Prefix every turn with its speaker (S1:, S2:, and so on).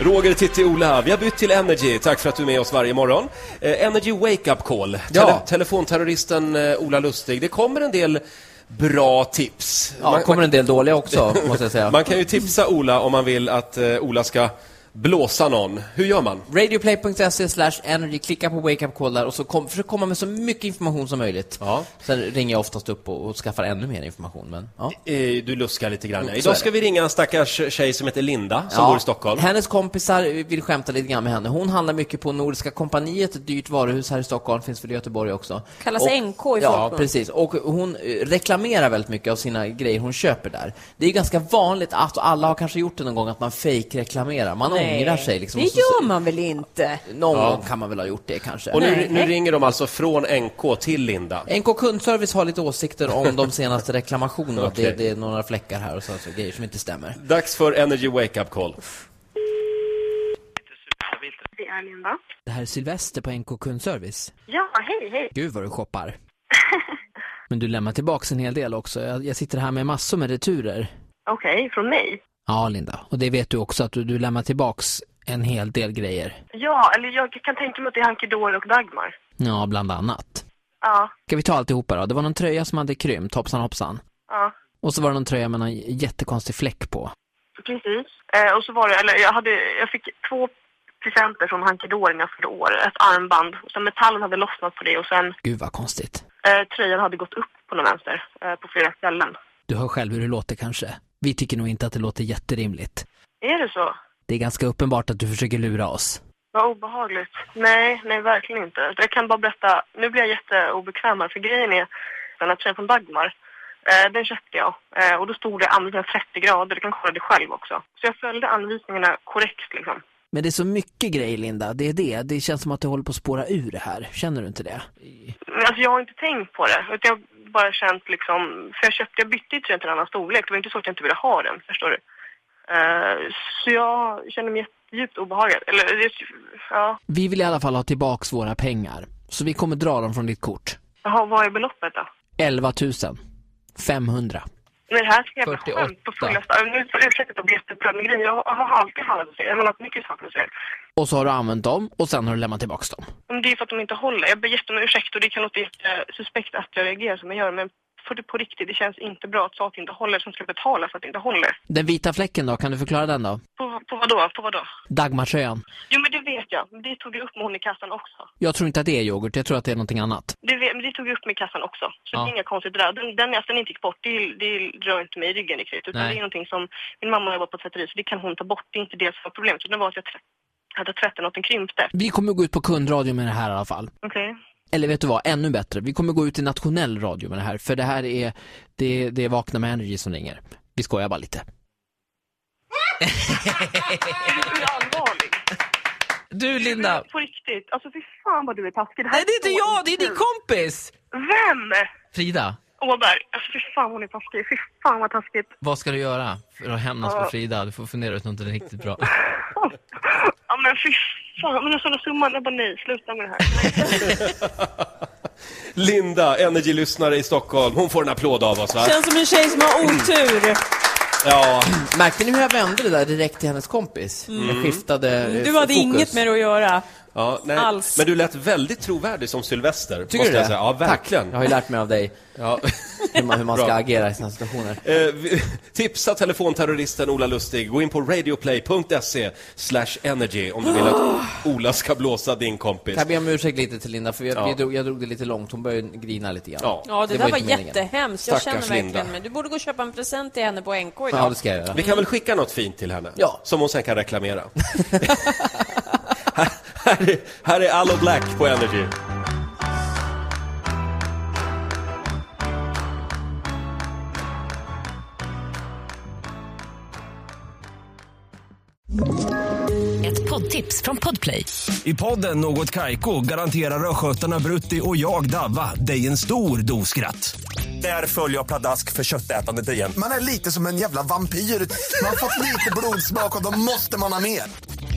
S1: Roger, Titti, Ola, vi har bytt till Energy. Tack för att du är med oss varje morgon. Eh, Energy Wake Up Call. Tele-
S2: Ja.
S1: Telefonterroristen eh, Ola Lustig. Det kommer en del bra tips.
S2: Ja,
S1: man,
S2: det kommer en del dåliga också, måste jag säga.
S1: man kan ju tipsa Ola om man vill att eh, Ola ska blåsa någon. Hur gör man?
S2: Radioplay.se slash energy, klicka på wake up call där och så kom, försök komma med så mycket information som möjligt.
S1: Ja.
S2: Sen ringer jag oftast upp och, och skaffar ännu mer information. Men, ja.
S1: Eh, Du luskar lite grann. ja.
S2: så är
S1: Idag
S2: det.
S1: ska vi ringa en stackars tjej som heter Linda, som
S2: Ja,
S1: bor i Stockholm.
S2: Hennes kompisar vill skämta lite grann med henne. Hon handlar mycket på Nordiska kompaniet, ett dyrt varuhus här i Stockholm, finns väl i Göteborg också.
S3: Kallas NK i
S2: Ja,
S3: folkmun.
S2: precis. Och hon eh, reklamerar väldigt mycket av sina grejer hon köper där. Det är ju ganska vanligt att, och alla har kanske gjort det någon gång, att man fake-reklamerar. Man ångrar sig liksom.
S3: Det
S2: Och så-
S3: gör man väl inte?
S2: Någon gång kan man väl ha gjort det kanske.
S1: Och nu,
S3: Nej.
S1: nu ringer de alltså från NK till Linda.
S2: NK Kundservice har lite åsikter om de senaste reklamationerna.
S1: Okej.
S2: det, det är några fläckar här och så, så grejer som inte stämmer.
S1: Dags för Energy Wake Up Call.
S4: Det är Linda.
S2: Det här är Sylvester på NK Kundservice.
S4: Ja, hej, hej.
S2: Gud vad du shoppar. Men du lämnar tillbaks en hel del också. Jag, jag sitter här med massor med returer.
S4: Okej, från mig?
S2: Ja, Linda. Och det vet du också att du, du lämnar tillbaks en hel del grejer.
S4: Ja, eller jag kan tänka mig att det är Hankedor och Dagmar.
S2: Ja, bland annat.
S4: Ja,
S2: Ska vi ta alltihopa då? Det var någon tröja som hade krympt, hoppsan hoppsan.
S4: ja,
S2: Och så var det någon tröja med någon j- jättekonstig fläck på.
S4: precis. Eh, och så var det, eller jag, hade, jag fick två presenter från Hankedor när jag fyllde år. Ett armband. Och sen metallen hade lossnat på det och sen
S2: Gud vad konstigt.
S4: eh, tröjan hade gått upp på någon vänster eh, på flera ställen.
S2: Du hör själv hur det låter kanske. Vi tycker nog inte att det låter jätterimligt.
S4: Är det så?
S2: Det är ganska uppenbart att du försöker lura oss.
S4: Vad obehagligt. Nej, nej verkligen inte. Jag kan bara berätta, nu blir jag jätteobekväm här för grejen är den här tröjan från Dagmar. Eh, den köpte jag eh, och då stod det anvisningar 30 grader, du kan kolla det själv också. Så jag följde anvisningarna korrekt liksom.
S2: Men det är så mycket grejer Linda, det är det. Det känns som att du håller på att spåra ur det här. Känner du inte det?
S4: Men alltså jag har inte tänkt på det, utan jag har bara känt liksom, för jag köpte, jag bytte ju tröjan till en annan storlek, det var inte så att jag inte ville ha den, förstår du. Eh, så jag känner mig djupt obehagad, eller det- ja.
S2: Vi vill i alla fall ha tillbaks våra pengar. Så vi kommer dra dem från ditt kort.
S4: Jaha, vad är beloppet då?
S2: 11 500.
S4: Men det här är så jävla
S2: 48.
S4: skönt på fullaste... Ja, Nu får jag ursäkta att jag blir jätteupprörd, men grejen är, jag har alltid handlat fel. Jag har haft mycket saker fel.
S2: Och så har du använt dem och sen har du lämnat tillbaks dem.
S4: Men det är för att de inte håller. Jag ber jättemycket om ursäkt och det kan låta jättesuspekt att jag reagerar som jag gör, men för det på riktigt, det känns inte bra att saker inte håller som ska betala för att det inte håller.
S2: Den vita fläcken då, kan du förklara den då?
S4: På, på vad då? På vad då?
S2: Dagmartröjan.
S4: Jo, men det vet jag. Men Det tog jag upp med hon i kassan också.
S2: Jag tror inte att det är yoghurt, jag tror att det är någonting annat.
S4: Det, vet, men det tog jag upp med i kassan också. Så
S2: Ja.
S4: det är inga konstigheter där. Den, den, att den inte gick bort, det, det rör inte mig i ryggen riktigt. Utan
S2: Nej.
S4: det är någonting som min mamma jobbar på ett tvätteri, så det kan hon ta bort. Det är inte det som var problemet, utan det var att jag tvätt, hade tvättat något, den krympte.
S2: Vi kommer gå ut på kundradio med det här i alla fall.
S4: Okej.
S2: Eller vet du vad, ännu bättre. Vi kommer gå ut i nationell radio med det här. För det här är, det, det är Vakna med Energy som ringer. Vi skojar bara lite.
S4: Du är allvarlig.
S2: Du
S4: Men På riktigt. Alltså fy fan vad du är taskig. här
S2: Nej det är inte
S4: så
S2: jag, det är din
S4: kul.
S2: kompis!
S4: Vem?
S2: Frida,
S4: Åberg. Alltså fy fan hon är taskig. Fy fan vad taskigt.
S2: vad ska du göra för att hämnas på
S4: Ja.
S2: Frida? Du får fundera ut något riktigt bra.
S4: Ja men fy fan. Men alltså den summan, jag bara nej, sluta med det här.
S1: Linda, Energy-lyssnare i Stockholm, hon får en applåd av oss va?
S3: Känns som en tjej som har otur.
S1: Ja,
S2: Märkte ni hur jag vände det där direkt till hennes kompis? Jag skiftade eh,
S3: Du hade
S2: fokus.
S3: inget med det att göra.
S1: ja nej.
S3: Alls.
S1: Men du lät väldigt trovärdig som Sylvester,
S2: Tycker
S1: måste
S2: du
S1: jag
S2: det?
S1: säga. Ja, verkligen.
S2: Tack. Jag har ju lärt mig av dig
S1: Ja.
S2: hur man, hur man ska
S1: Bra.
S2: agera i sådana situationer.
S1: Eh, vi- Tipsa telefonterroristen Ola Lustig, gå in på radioplay.se slash energy om du vill att Ola ska blåsa din kompis.
S2: Ah. Kan jag be om ursäkt lite till Linda, för jag,
S1: Ja.
S2: vi drog, jag drog det lite långt. Hon började grina lite grann.
S1: Ja.
S3: Ja, det, där
S2: ju
S3: var
S2: inte meningen.
S3: jättehemskt. Jag
S1: Stackars
S3: känner verkligen
S1: Linda.
S3: men Du borde gå och köpa en present till henne på NK idag.
S2: Ja, det ska jag göra.
S1: Vi kan väl skicka något fint till henne?
S2: Ja.
S1: Som hon sen kan reklamera. här, här, är, här är Allo Black på Energy.
S5: Ett poddtips från Podplay.
S6: I podden Något Kaiko garanterar östgötarna Brutti och jag, Davva, dig en stor dos skratt. Där följer jag pladask för köttätandet igen.
S7: Man är lite som en jävla vampyr. Man har fått lite blodsmak och då måste man ha mer.